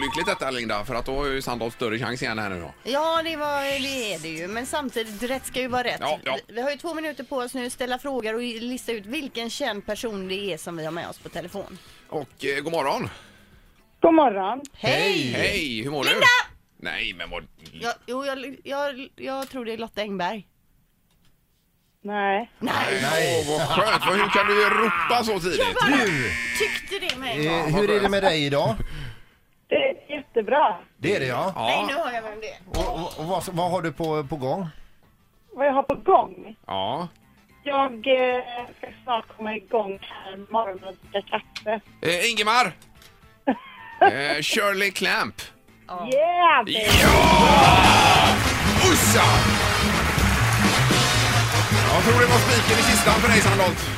märkligt detta Linda, för att då har ju Sandholt större chans igen här nu då. Ja, det, var, det är det ju. Men samtidigt, rätt ska ju vara rätt. Ja, ja. Vi har ju två minuter på oss nu att ställa frågor och lista ut vilken känd person det är som vi har med oss på telefon. Och eh, god morgon! God morgon. Hej! Hej, hur mår du? Linda! Nej men vad... Jag, jo, jag, jag, jag tror det är Lotta Engberg. Nej. Nej, Åh, vad skönt! Vad- Hur kan du ropa så tidigt? Du! Tyckte det med en gång. Eh, hur är det med dig idag? Det är jättebra. Det är det ja. Nej, nu Ja, har jag vem det är. Och, och, och vad, vad har du på, på gång? Vad jag har på gång? ja. Jag eh, ska snart komma igång här med morgonen och dricka kaffe. Eh, Ingemar! Eh, Shirley Clamp! Yeah! baby! Ussa! Jag tror det var spiken i kistan för dig Sandholt.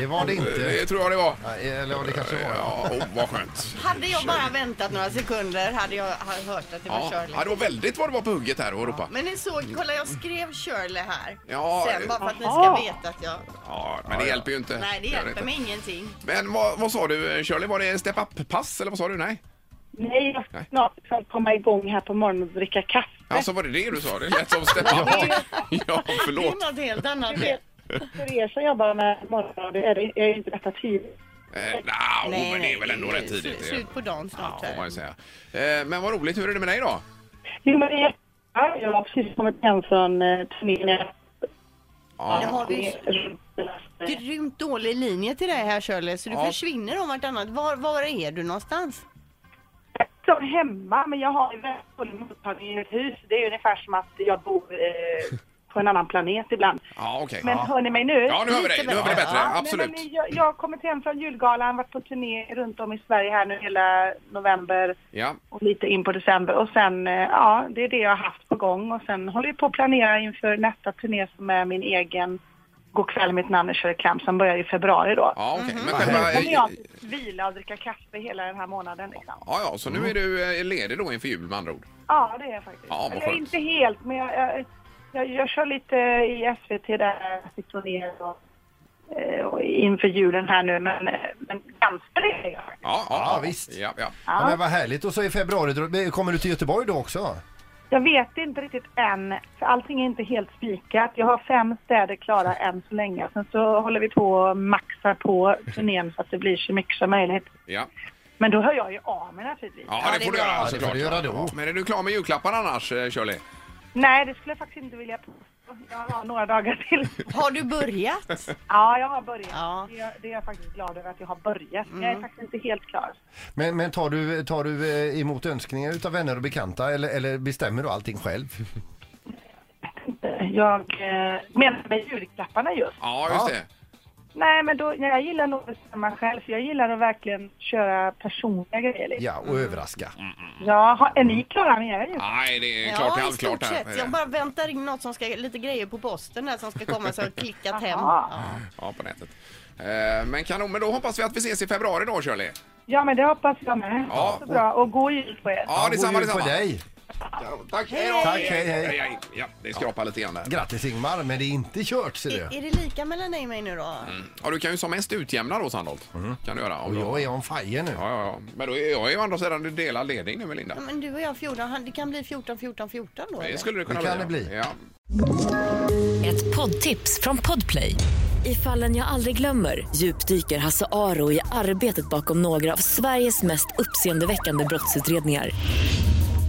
Det var det Det inte. tror jag det var. Nej, Eller ja, det kanske var. Ja, oh, vad skönt. Hade jag bara väntat några sekunder hade jag ha- hört att det var Ja, Shirley. ja, det var väldigt vad det var på hugget här och ropa. Men ni såg, kolla jag skrev Shirley här. Ja, Sen bara för att ni ska Jaha. veta att jag... Ja, men det hjälper ju inte. Nej, det Gör hjälper inte. mig ingenting. Men vad, vad sa du Shirley, var det step-up-pass eller vad sa du? Nej? Nej, jag ska Nej. snart ska komma igång här på morgonen och dricka kaffe. Alltså var det det du sa? Det lät som step-up. ja, Det är förlåt. något helt annat. Du vet, För er som jobbar med morgonradio är det är ju inte detta tidigt. Eh, nah, nej, men det är väl ändå rätt sl- tidigt. det- Slut på dagen snart. Ja, får man här. ju säga. Eh, men vad roligt, hur är det med dig då? Jo, men det är jättebra. Jag har precis kommit hem från eh, turnén. Nu har vi Jag- grymt dålig linje till dig här Shirley, så du Ja. försvinner om vartannat. Var, var är du någonstans? som hemma, men jag har en väldigt full mottagning i ett hus. Det är ungefär som att jag bor eh, på en annan planet ibland. Ja, okej. Men hör ni mig nu? Ja, nu hör vi dig. Nu hör vi dig bättre. Ja, Absolut. Nej, men jag, jag har kommit hem från julgalan, varit på turné runt om i Sverige här nu hela november Ja. och lite in på december. Och sen, eh, ja, det är det jag har haft på gång. Och sen håller jag på att planera inför nästa turné som är min egen Gå kväll mitt namn är Shirley Clamp som börjar i februari då. Ja, okej. Men Vad själva... Då kommer Ja, jag vila och dricka kaffe hela den här månaden liksom. ja, så Mm. nu är du eh, ledig då inför jul med andra ord. Ja, det är jag faktiskt. Ja, vad Eller skönt. inte helt, men jag, jag, jag, jag kör lite i SVT där, sitter ner och, eh, och inför julen här nu, men, eh, men ganska det är jag. Ja, Ja, visst. Ja, ja. Ja, men vad härligt. Och så i februari, drar- kommer du till Göteborg då också? Jag vet inte riktigt än, för allting är inte helt spikat. Jag har fem städer klara än så länge. Sen så håller vi på och maxar på turnén så att det blir så mycket som möjligt. Ja, Men då hör jag ju av mig naturligtvis. ja det får du bra. göra det får såklart. du göra då. Men är du klar med julklappar annars, eh, Shirley? Nej, det skulle jag faktiskt inte vilja påstå. Jag har några dagar till. Har du börjat? Ja, jag har börjat. Ja. Det, är, det är jag faktiskt glad över att jag har börjat. Jag är faktiskt inte helt klar. Men, men tar du, tar du eh, emot önskningar utav vänner och bekanta eller, eller bestämmer du allting själv? Jag eh, menar med julklapparna just. Ja, just Ja. det. Nej, men då, nej, jag gillar nog att bestämma själv. För jag gillar att verkligen köra personliga grejer. Liksom. Ja, och överraska. Ja, har, är ni klara med era julklappar? Nej, det är klart det är ja, i allt klart stort här. sett. Jag bara väntar in något som ska, lite grejer på posten där som ska komma så jag har klickat hem. Aha. Ja, på nätet. Eh, Men kanon, men då hoppas vi att vi ses i februari då, Shirley. Ja, men det hoppas jag med. Ja. Så bra. Och god jul på er. Ja, God detsamma, jul detsamma. på dig. Kanon. Tack, hej då! Tack, hej, hej. Ja, det skrapar lite grann där. Grattis Ingmar, men det är inte kört ser Är, du. är det lika mellan dig och mig nu då? Ja, du kan ju som mest utjämna då, Sandholt. Mm. Kan du göra. Och jag är on fire nu. Ja, ja, ja. Men då är jag är ju å andra sidan delad ledning nu med Linda. Ja, men du och jag 14, han- det kan bli 14, 14, 14 då Det eller? skulle det kunna Det kan bli. det bli. Ja. Ett poddtips från Podplay. I fallen jag aldrig glömmer djupdyker Hasse Aro i arbetet bakom några av Sveriges mest uppseendeväckande brottsutredningar.